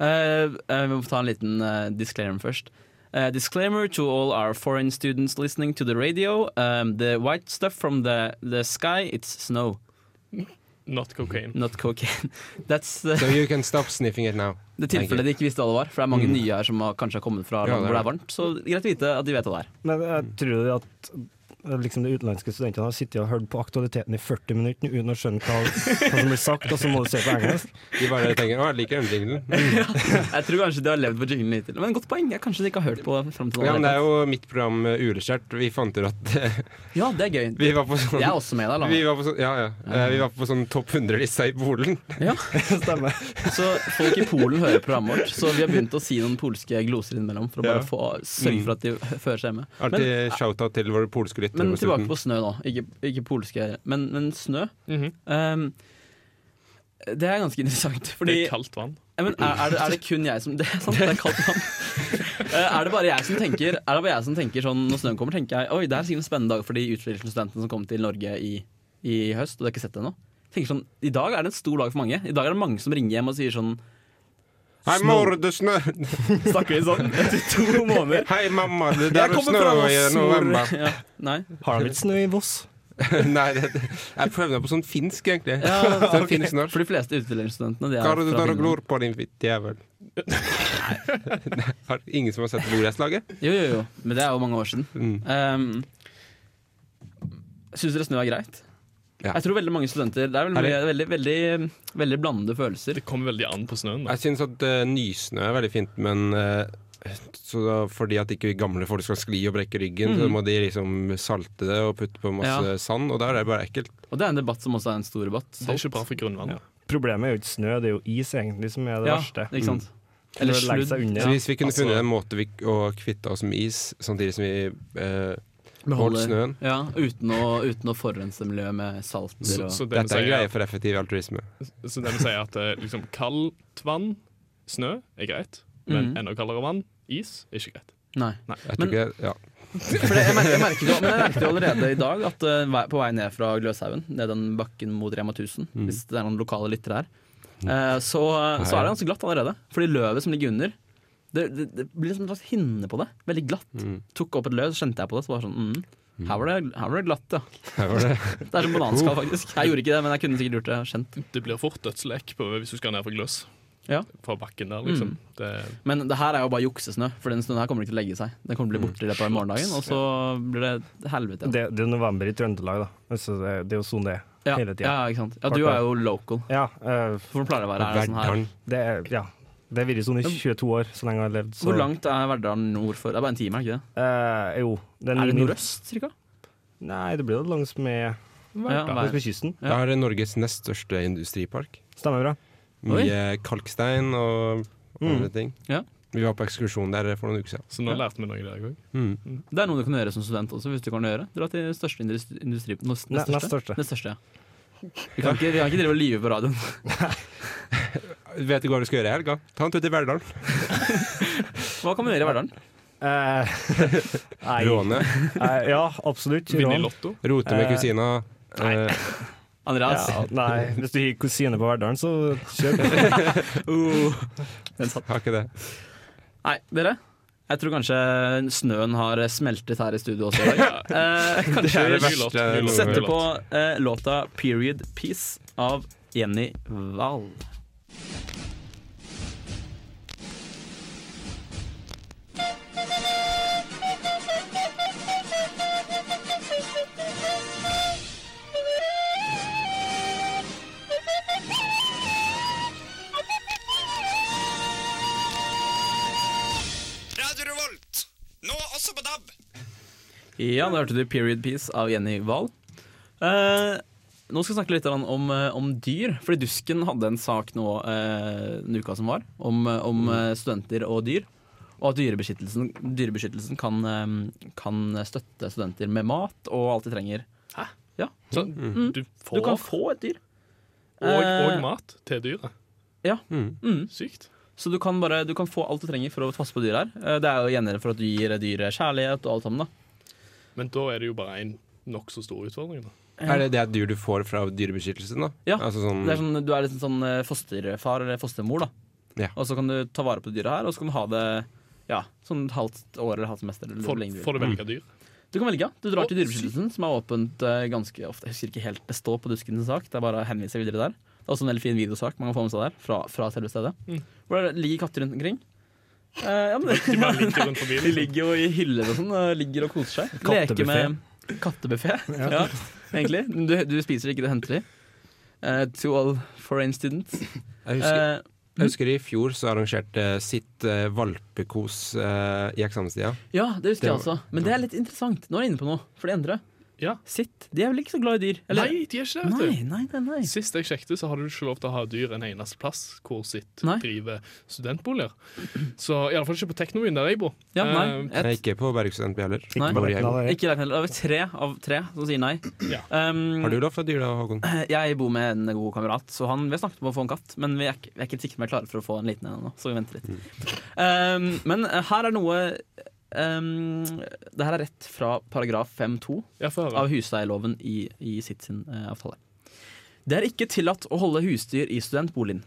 S1: Eh, eh, vi må ta en liten eh, disclaimer først. Eh, disclaimer to all our foreign students listening to the radio. Um, the white stuff from the, the sky, it's snow,
S4: Not cocaine.
S1: not cocaine. That's eh,
S3: So you can stop sniffing it now.
S1: det tilfellet de ikke visste hva det var. For det er mange nye her som har, kanskje har kommet fra
S3: Mm. Ja,
S1: land hvor
S3: det er
S1: det er varmt. Så greit å vite at de vet hva det er.
S6: Men jeg tror jo at eh, liksom de utenlandske studentene har sittet og hørt på aktualiteten i 40 minutter uten å skjønne hva, hva som blir sagt, og så må du se på engelsk.
S3: De bare tenker 'Å, jeg liker den jinglen'.
S1: Jeg tror kanskje de har levd på jinglen hittil. Men godt poeng. Jeg kanskje de ikke har hørt på frem til nå.
S3: Ja, men det er jo mitt program eh, Uleskjært. Vi fant ut at eh,
S1: Ja, det er gøy.
S3: vi var på sånn
S1: Jeg er også med deg,
S3: vi
S1: Lana.
S3: var på sånn, ja, ja. Eh, Vi var på sånn topp 100-lista i Polen.
S1: Ja. Så folk i Polen hører programmet vårt, så vi har begynt å si noen polske gloser innimellom for å bare
S3: Ja.
S1: få sørge for at de hø- fører seg hjemme. Men,
S3: Alltid shout-out til våre polske lyttere.
S1: men
S3: på
S1: tilbake
S3: slutten.
S1: på snø nå. Ikke, ikke polske, men, men snø.
S4: Mhm.
S1: Ehm, det er ganske interessant,
S4: Det
S1: fordi
S4: er kaldt vann.
S1: Ja, Eh, men er, er, det, er det kun jeg som Det er sant, det er kaldt vann. Eh, Er det bare jeg som tenker Er det bare jeg som tenker sånn når snøen kommer, tenker jeg Oi, det er sikkert en spennende dag for de utvekslingsstudentene som kom til Norge i, i høst, og du har ikke sett det ennå. Tenker sånn, I dag er det en stor dag for mange. I dag er det mange som ringer hjem og sier sånn
S3: Hei, mor, det snør!
S1: Snakker vi sånn etter to måneder?
S3: Hei, mamma, det
S1: Jeg
S3: der
S1: kommer
S3: snør
S1: fra
S3: i
S1: Voss,
S3: november.
S1: hvor ja, Nei.
S6: Har de ikke snø i Voss?
S3: Nei, det, det- jeg prøvde meg på sånn finsk, egentlig.
S1: Ja,
S3: Sånn finsk snørr.
S1: For de fleste utvekslingsstudentene de er
S3: Hva er det du
S1: fra
S3: tar og
S1: Finland.
S3: glor på, din fitte jævel? Nei, har ingen som har sett Nordrettslaget?
S1: Jo, jo, jo. Men det er jo mange år siden. Um, Syns dere snø er greit?
S3: Ja.
S1: Jeg tror veldig mange studenter Det er veldig, mye, veldig, veldig, veldig blandede følelser.
S4: Det kommer veldig an på snøen. da.
S3: Jeg syns at eh, nysnø er veldig fint, men eh, så da, fordi at ikke gamle folk skal skli og brekke ryggen, så må de liksom salte det og putte på masse
S1: Mm. Ja.
S3: sand, og da er det bare ekkelt.
S1: Og det er en debatt som også er en stor debatt.
S4: Det er ikke bra for grunnvannet.
S6: Problemet er jo ikke snø, det er jo is egentlig som er det
S1: ja,
S6: verste.
S1: Ikke sant?
S6: Når
S1: Eller
S6: det legger seg
S1: sludd.
S6: under.
S3: Så hvis vi kunne
S4: altså-
S3: funnet en måte vi, å kvitte oss med is, samtidig som vi eh,
S1: Beholder-
S3: holdt snøen
S1: Ja, uten å, uten å forense miljøet med salter
S4: Så,
S1: og
S4: så det vi
S3: Dette er
S4: sier-
S3: greier for effektiv altruisme.
S4: Så det vil si at eh, liksom, kaldt vann, snø, er greit. Men
S1: Mhm.
S4: enda kaldere vann, is, er ikke greit.
S1: Nei. Men-
S3: Jeg tror ikke, ja.
S1: For det, jeg, merker, jeg, merker jo, men jeg merker jo allerede i dag at eh, vei- på vei ned fra Gløshaugen, ned den bakken mot Rema 1000,
S6: Mm.
S1: hvis det er noen lokale lyttere her, eh, så, så er det ganske glatt allerede. Fordi løvet som ligger under, det, det, det blir liksom en slags hinne på det. Veldig glatt.
S3: Mm.
S1: Tok opp et løv, så kjente jeg på det, så var det sånn mm. Her var, det, her var det glatt, ja. Det er som bananskall,
S6: Oh.
S1: faktisk. Jeg gjorde ikke det, men jeg kunne sikkert gjort det. Kjent.
S4: Det blir fort dødslek på, hvis du skal ned fra gløs.
S1: Ja.
S4: Fra bakken der, liksom.
S1: Mm.
S4: Det,
S1: Men det her er jo bare juksesnø, for den snøen her kommer ikke til å legge seg. Den kommer til å bli borte i løpet av morgendagen, og så blir det helvete.
S6: Det, det er november i Trøndelag, da. Altså, det, det er jo sånn det er
S1: Ja,
S6: hele tida.
S1: ja, ikke sant. Ja, du er jo local.
S6: Ja, eh,
S1: For du pleier å være her sånn her.
S3: Verdalen.
S6: det er Ja. Det har vært sånn i 22 år, så lenge jeg har levd. Så,
S1: Hvor langt er Verdal nord for? Det er bare en time, er det ikke det?
S6: Eh, jo. Det
S1: Er det
S6: min-
S1: nordøst, cirka?
S6: Nei, det blir jo langs med,
S1: Ja,
S6: langs
S1: vær-
S6: med kysten.
S1: Ja.
S3: Det er Norges nest største industripark.
S6: Stemmer bra.
S3: Mye kalkstein og andre ting.
S1: Mm. Ja.
S3: Vi var på ekskursjon der for noen uker siden.
S4: så nå lærte vi noe i dag òg.
S3: Mm.
S1: det er noe du kan gjøre som student også, hvis du kan gjøre. Dra til største industri... industri nå- nest,
S6: Ne- nest største.
S1: Nest største, ja. Vi kan ikke, vi kan ikke drive og lyve på radioen.
S3: Vet du hva vi skal gjøre i helga? Ta en tur til Verdalen.
S1: Hva kan vi gjøre i Verdalen?
S6: Eh, nei.
S3: Råne.
S6: Eh, ja, absolutt.
S4: Vinne i
S6: Rån.
S4: Lotto.
S3: Rote med
S6: Eh,
S3: kusina. Eh,
S1: Andreas?
S6: Ja, nei, hvis du har kusine på Verdalen, så kjør på.
S1: Uh, den satt.
S3: har ikke det.
S1: Nei, dere? Jeg tror kanskje snøen har smeltet her i studio også i dag. Eh, kanskje
S3: er det
S1: vi
S3: verste.
S4: Ny låt, ny
S1: setter
S4: låt.
S1: på eh, låta 'Period Peace' av Jenny Wahl. Ja, nå hørte du 'Period Peace' av Jenny Wahl. Eh, nå skal vi snakke litt grann om, eh, om dyr. Fordi Dusken hadde en sak nå eh, den uka som var, om, eh, om eh, studenter og dyr. Og at dyrebeskyttelsen, dyrebeskyttelsen kan, eh, kan støtte studenter med mat og alt de trenger.
S4: Så du
S1: mm. Du
S4: får
S1: kan få et dyr.
S4: og, og
S1: Eh,
S4: mat til dyret.
S1: Ja.
S4: Mm. Sykt.
S1: Så du kan, bare, du kan få alt du trenger for å passe på dyr her. Eh, Det er jo gjengjeld for at du gir dyret kjærlighet og alt sammen. da
S4: Men da er det jo bare en nokså stor utfordring. Da.
S3: Er det det dyr du får fra dyrebeskyttelsen, da?
S1: Eh. Ja,
S3: Altså sånn,
S1: Det er sånn, du er liksom sånn eh, fosterfar eller fostermor, da.
S3: Ja.
S1: Og så kan du ta vare på det dyret her, og så kan du ha det ja, sånn et halvt år eller halvt semester. Eller hvor
S4: Får,
S1: lenge du, vil.
S4: får du velge dyr?
S1: du kan velge. Du drar
S4: Å,
S1: til Dyrebeskyttelsen, som er åpent eh, ganske ofte. Jeg husker ikke helt det står på Duskens sak, det er bare å henvise videre der. Det er også en veldig fin videosak man kan få med seg der, fra, fra selve stedet.
S4: Mm.
S1: Hvor det ligger katter rundt omkring. Eh, ja, men,
S4: De bare ligger rundt
S1: de
S4: forbi. Liksom.
S1: ligger jo i hyller og sånn, og ligger og koser seg. Leker med kattebuffé. Ja. egentlig. Du, du spiser ikke, du henter de. Eh, to all foreign students.
S3: jeg, husker,
S1: Eh,
S3: jeg husker i fjor så arrangerte sitt eh, valpekos eh, i eksamenstida.
S1: ja, det husker
S3: Det
S1: jeg
S3: var-
S1: også. Men det er litt interessant. Nå er jeg inne på noe, for de andre.
S4: Ja.
S1: Sitt. De er vel ikke så glad i dyr?
S4: Nei, de er ikke det,
S1: nei,
S4: vet du.
S1: nei, nei, nei.
S4: Sist jeg sjekket, så hadde du ikke lov til å ha dyr en eneste plass hvor sitt
S1: Nei.
S4: driver studentboliger. Så iallfall ikke på Teknobyen, der jeg bor.
S1: Ja, nei.
S4: Eh,
S3: Jeg
S1: Et,
S3: er ikke på Bergstudentby heller.
S1: Nei.
S3: Bor i Haugen.
S6: Nei,
S1: ikke lagt ned. Det er vel tre av tre som sier nei.
S4: Ja.
S1: Um,
S3: Har du lov fra dyr da, Håkon?
S1: Jeg bor med en god kamerat, så han, vi har snakket om å få en katt. Men vi er, ikke- vi er ikke helt sikre på om vi er klare for å få en liten en ennå, så vi venter litt.
S3: Mm.
S1: Um, men her er noe um, Det her er rett fra paragraf 5-2
S4: Jeg får
S1: av
S4: høre.
S1: husleieloven i, i sitt sin eh, avtale. Det er ikke tillatt å holde husdyr i studentboligen.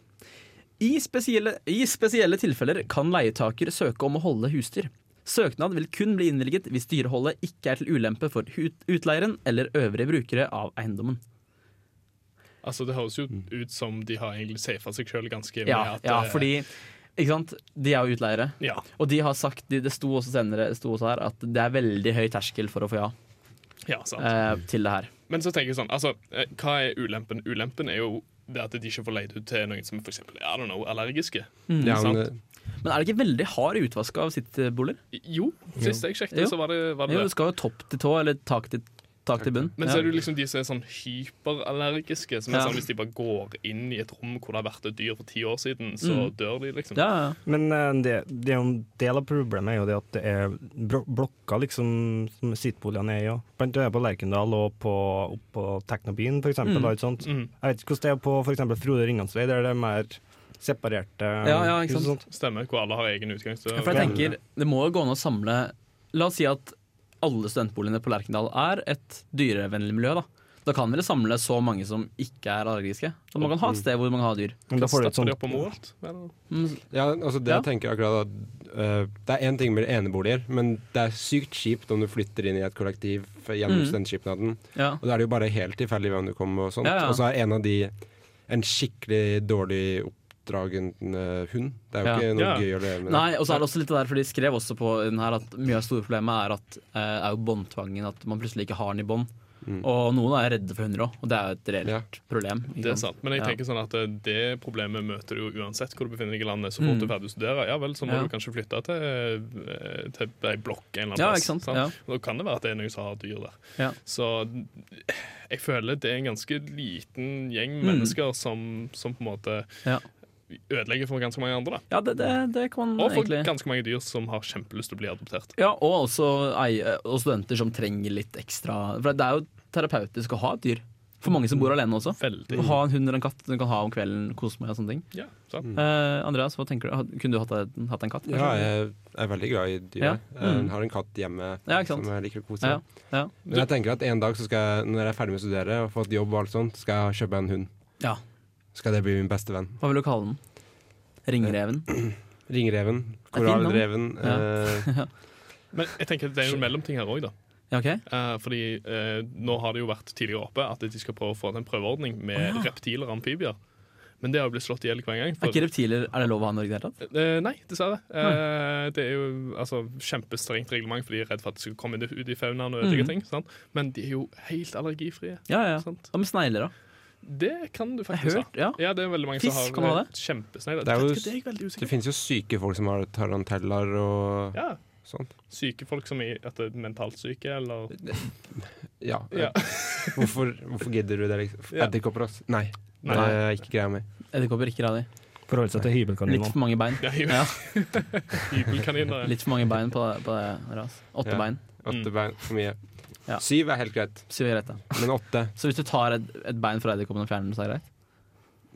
S1: I spesielle, I spesielle tilfeller kan leietaker søke om å holde husdyr. Søknad vil kun bli innvilget hvis dyreholdet ikke er til ulempe for ut- utleieren eller øvrige brukere av eiendommen.
S4: Altså, det høres jo ut som de har egentlig safa seg sjøl ganske
S1: Ja,
S4: med at
S1: ja
S4: eh,
S1: fordi ikke sant? De er jo utleiere.
S4: ja.
S1: Og de har sagt, de, det sto også senere det sto også her, at det er veldig høy terskel for å få ja
S4: ja, sant.
S1: eh, til det her.
S4: Men så tenker jeg sånn, altså, eh, hva er ulempen? Ulempen er jo det at de ikke får leid ut til noen som er for eksempel, I don't know, allergiske.
S1: Mm,
S3: Ja,
S4: sant.
S3: men, eh,
S1: Men er det ikke veldig hard utvask av eh, sittboliger?
S4: Jo, sist jeg sjekket,
S1: Jo.
S4: så var det, var det
S1: Jo,
S4: det.
S1: du skal jo topp til tå, eller tak til, tak til bunn.
S4: Men så
S1: Ja.
S4: er det jo liksom de som er sånn hyperallergiske. Som er
S1: Ja.
S4: sånn Hvis de bare går inn i et rom hvor det har vært et dyr for ti år siden, så dør de,
S1: Mm.
S4: liksom.
S1: ja, ja.
S6: Men eh, det, det er jo en del av problemet er jo det at det er bro- blokker liksom, som sittboligene er i. Ja. Blant annet på Lerkendal og på, opp på Teknobyen, for eksempel. da, ikke sant?
S4: Mm.
S6: Jeg vet ikke hvordan det er på for eksempel Frode Ringhans vei, der det er mer separerte
S1: Ja, ja, ikke
S6: hus og
S1: sant?
S6: sånt.
S4: Stemmer. Hvor alle har egen utgangsdør.
S1: For jeg tenker, det må jo gå an å samle La oss si at alle studentboligene på Lerkendal er et dyrevennlig miljø, da. Da kan dere samle så mange som ikke er allergiske. Så man kan ha et sted hvor man har dyr. Mm,
S6: Men da får du et
S4: Stapper de
S6: sånt
S4: opp om alt? Eller?
S3: Ja, altså det
S1: Ja.
S3: jeg tenker akkurat at, eh, Det er én ting med eneboliger, men det er sykt kjipt om du flytter inn i et kollektiv gjennom
S1: Mm.
S3: studentskipnaden.
S1: Ja.
S3: Og da er det jo bare helt tilfeldig hvem du kommer med og sånt.
S1: Ja, ja.
S3: Og så er en av de en skikkelig dårlig oppdragende hund. Det er jo
S1: Ja.
S3: ikke noe
S4: Ja.
S3: gøy å leve med.
S1: Nei, og så er det også litt det der, for de skrev også på den her at mye av store problemet er at eh, er jo båndtvangen, at man plutselig ikke har den i bånd.
S6: Mm.
S1: Og noen er redde for hunder òg, og det er jo et reelt
S3: Ja.
S1: problem. ikke
S4: Det er
S1: sant?
S4: sant, men
S1: Ja.
S4: jeg tenker sånn at eh, det problemet møter du jo uansett hvor du befinner deg i landet. Så fort du er ferdig å studere, ja vel, så
S1: Mm.
S4: må
S1: Ja.
S4: du kanskje flytte til, eh, til ei blokk en eller annen
S1: Ja,
S4: plass.
S1: ikke sant? Ja.
S4: Da kan det være at det er noen som har dyr der.
S1: Ja.
S4: Så jeg føler det er en ganske liten gjeng
S1: Mm.
S4: mennesker som, som på en måte
S1: Ja.
S4: ødelegger for ganske mange andre. Da.
S1: Ja, det, det, det kan man
S4: Og for
S1: Mm, egentlig
S4: ganske mange dyr som har kjempelyst til å bli adoptert.
S1: Ja, og også eie, og studenter som trenger litt ekstra For det er jo terapeutisk å ha et dyr. For mange som bor alene også.
S4: Veldig.
S1: Å ha en hund eller en katt du kan ha om kvelden, kose meg og sånne ting.
S4: Ja, sant?
S1: Eh, Andreas, hva tenker du? Had- Kunne du hatt, en- hatt en katt?
S3: Ja, jeg er veldig glad i dyr.
S1: Ja.
S3: Jeg
S1: Mm.
S3: har en katt hjemme
S1: Ja, ikke sant?
S3: som jeg liker å kose
S1: ja,
S3: med.
S1: ja.
S3: Men jeg tenker at en dag så skal jeg, når jeg er ferdig med å studere og fått jobb, og alt sånt, skal jeg kjøpe en hund.
S1: ja.
S3: Skal det bli min beste venn.
S1: Hva vil du kalle den? Ringreven?
S3: Ringreven.
S1: Det er fint navn.
S3: Korallreven. eh,
S4: Men jeg tenker at det er jo en mellomting her òg, da.
S1: Ja, ok?
S4: Eh, fordi eh, nå har det jo vært tidligere oppe at de skal prøve å få til en prøveordning med reptiler og amfibier. Men det har jo blitt slått i hjel hver gang.
S1: Er ikke reptiler er det lov å ha i Norge i det hele tatt?
S4: Eh, nei, dessverre. Eh, det er jo altså, kjempestrengt reglement, for de er redd for at det skal komme inn ut i faunaen og ødelegge
S1: Mhm.
S4: ting. Sant? Men de er jo helt allergifrie.
S1: Ja, ja.
S4: Sant?
S1: Hva med snegler, da?
S4: Det kan du
S1: Jeg
S4: faktisk
S1: har
S4: ha.
S1: hørt, ja.
S4: Ja, det er veldig mange som
S1: Fisk,
S4: har eh,
S1: kan man ha det?
S4: kjempesnegler.
S3: Det er jo-
S4: Vet ikke, det er jeg veldig
S3: det
S4: usikker på.
S3: finnes jo syke folk som har taranteller og
S4: Ja.
S3: sånt.
S4: Syke folk som er, at det er mentalt syke, eller
S3: Ja. eh,
S4: Ja.
S3: Hvorfor, hvorfor gidder du det? liksom?
S4: Ja.
S3: Edderkopper, altså? Nei.
S4: Nei.
S3: Det er ikke greia mi.
S1: Edderkopper ikke radi.
S6: forhold seg til
S1: Litt
S6: hybelkaninene.
S1: for mange bein.
S4: Det er jo
S1: Ja.
S4: hybelkaniner.
S1: Litt for mange bein på, på det ras. Åtte
S3: Ja.
S1: bein.
S3: Åtte
S4: Mm.
S3: bein for mye.
S1: Ja.
S3: Syv er helt greit,
S1: Syv er greit, da.
S3: men åtte
S1: Så hvis du tar et, et bein fra edderkoppen og fjerner den, så er det greit?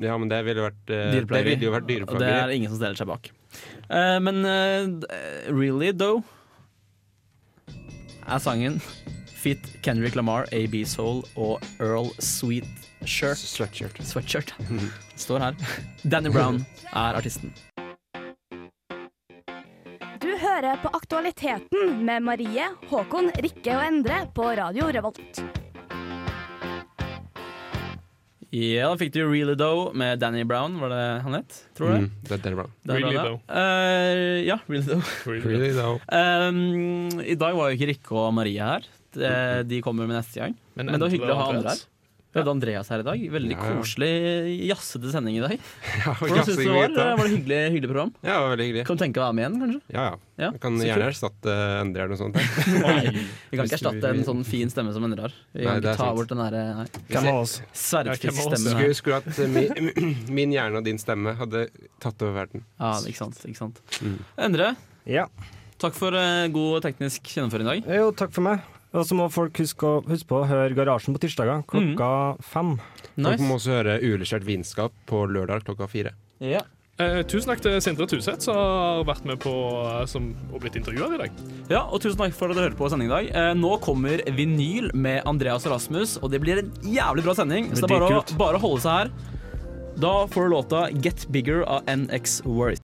S3: Ja, men det ville vært eh, Det
S1: Dyreplageri.
S3: ville jo vært
S1: Og det er
S3: dyreplageri.
S1: ingen som stiller seg bak. Eh, men eh, really, though, er sangen Fit Kendrick Lamar, AB Soul og Earl Sweet Shirt.
S3: Sweatshirt.
S1: Sweatshirt. Står her. Danny Brown er artisten.
S8: Du hører på Aktualiteten med Marie, Håkon, Rikke og Endre på Radio Revolt.
S1: Ja, da fikk du Really Dough med Danny Brown, var det han het? Tror du det?
S3: Mm, det er Danny Brown.
S1: Det er
S4: Really
S1: bra, det.
S4: Dough.
S1: Eh, ja, Really Dough.
S4: Really.
S1: Um, I dag var jo ikke Rikke og Marie her.
S3: Mm.
S1: De, de kommer med neste gang. Men, det var hyggelig å ha andre her. Vi hadde Andreas her i dag. Veldig
S3: Ja, ja.
S1: koselig jazzete sending i dag.
S3: Ja,
S1: Hvordan syns du det var?
S3: jazzing-bit, da.
S1: Var det hyggelig, hyggelig program?
S3: Ja, det var veldig hyggelig.
S1: Kan du tenke deg å være med igjen, kanskje?
S3: Ja, ja.
S1: Ja,
S3: Jeg kan
S1: så
S3: gjerne
S1: kult.
S3: erstatte Endre eller noe sånt.
S1: Vi kan ikke erstatte en sånn fin stemme som Endre har. Vi
S3: Nei,
S1: kan
S3: det er
S1: ikke ta
S3: sant.
S1: bort den eh, derre
S6: Hvem av oss?
S4: Ja, hvem av oss?
S1: sverdfiskstemmen her.
S3: Skulle, skulle at eh, min, min hjerne og din stemme hadde tatt over verden.
S1: Ja, ikke sant. Ikke sant.
S3: Mm.
S1: Endre,
S6: Ja.
S1: takk for eh, god teknisk gjennomføring i dag.
S6: Jo, takk for meg. Og så må folk huske, å- huske på å høre Garasjen på tirsdager
S1: Mm.
S6: klokka fem.
S3: Folk
S1: Nice.
S3: må også høre Uregissert vinskap på lørdag klokka fire.
S1: Ja.
S4: Eh, tusen takk til Sindre Tuseth som har vært med på eh, som, og blitt intervjua i dag.
S1: Ja, og tusen takk for at dere hørte på sendingen i dag. Eh, nå kommer vinyl med Andreas og Rasmus, og det blir en jævlig bra sending. Så det er bare å, bare å holde seg her. Da får du låta Get Bigger av NX Worth.